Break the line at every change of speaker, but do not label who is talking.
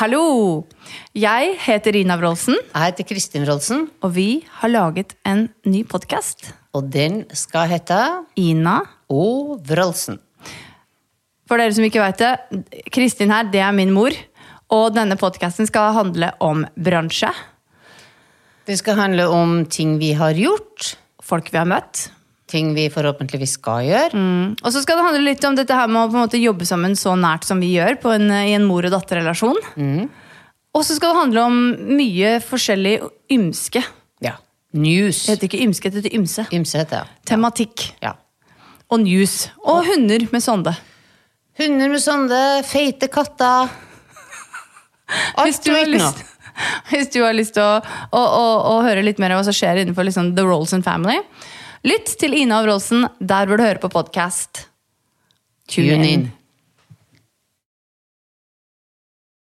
Hallo! Jeg heter Rina Wroldsen,
Jeg heter Kristin Rolsen,
og vi har laget en ny podkast.
og den skal hete
Ina.
Å Vrolsen.
For dere som ikke vet det, Kristin her, det er min mor. Og denne podkasten skal handle om bransje.
Det skal handle om ting vi har gjort,
Folk vi har møtt.
ting vi forhåpentligvis skal gjøre.
Mm. Og så skal det handle litt om dette her med å på en måte jobbe sammen så nært som vi gjør på en, i en mor- og datterrelasjon. Og så skal det handle om mye forskjellig ymske.
Ja. News.
Det heter ikke ymske, det heter ymse.
Ymse heter det.
Tematikk.
Ja.
Og news. Og hunder med sonde.
Hunder med sonde, feite katter.
Hvis
Alt
du
du
har
vet nå.
lyst, hvis du har lyst til å, å, å, å høre litt mer av hva som skjer innenfor liksom The Rolson Family, lytt til Ina og Rolson der hvor du hører på podkast.
Tune in.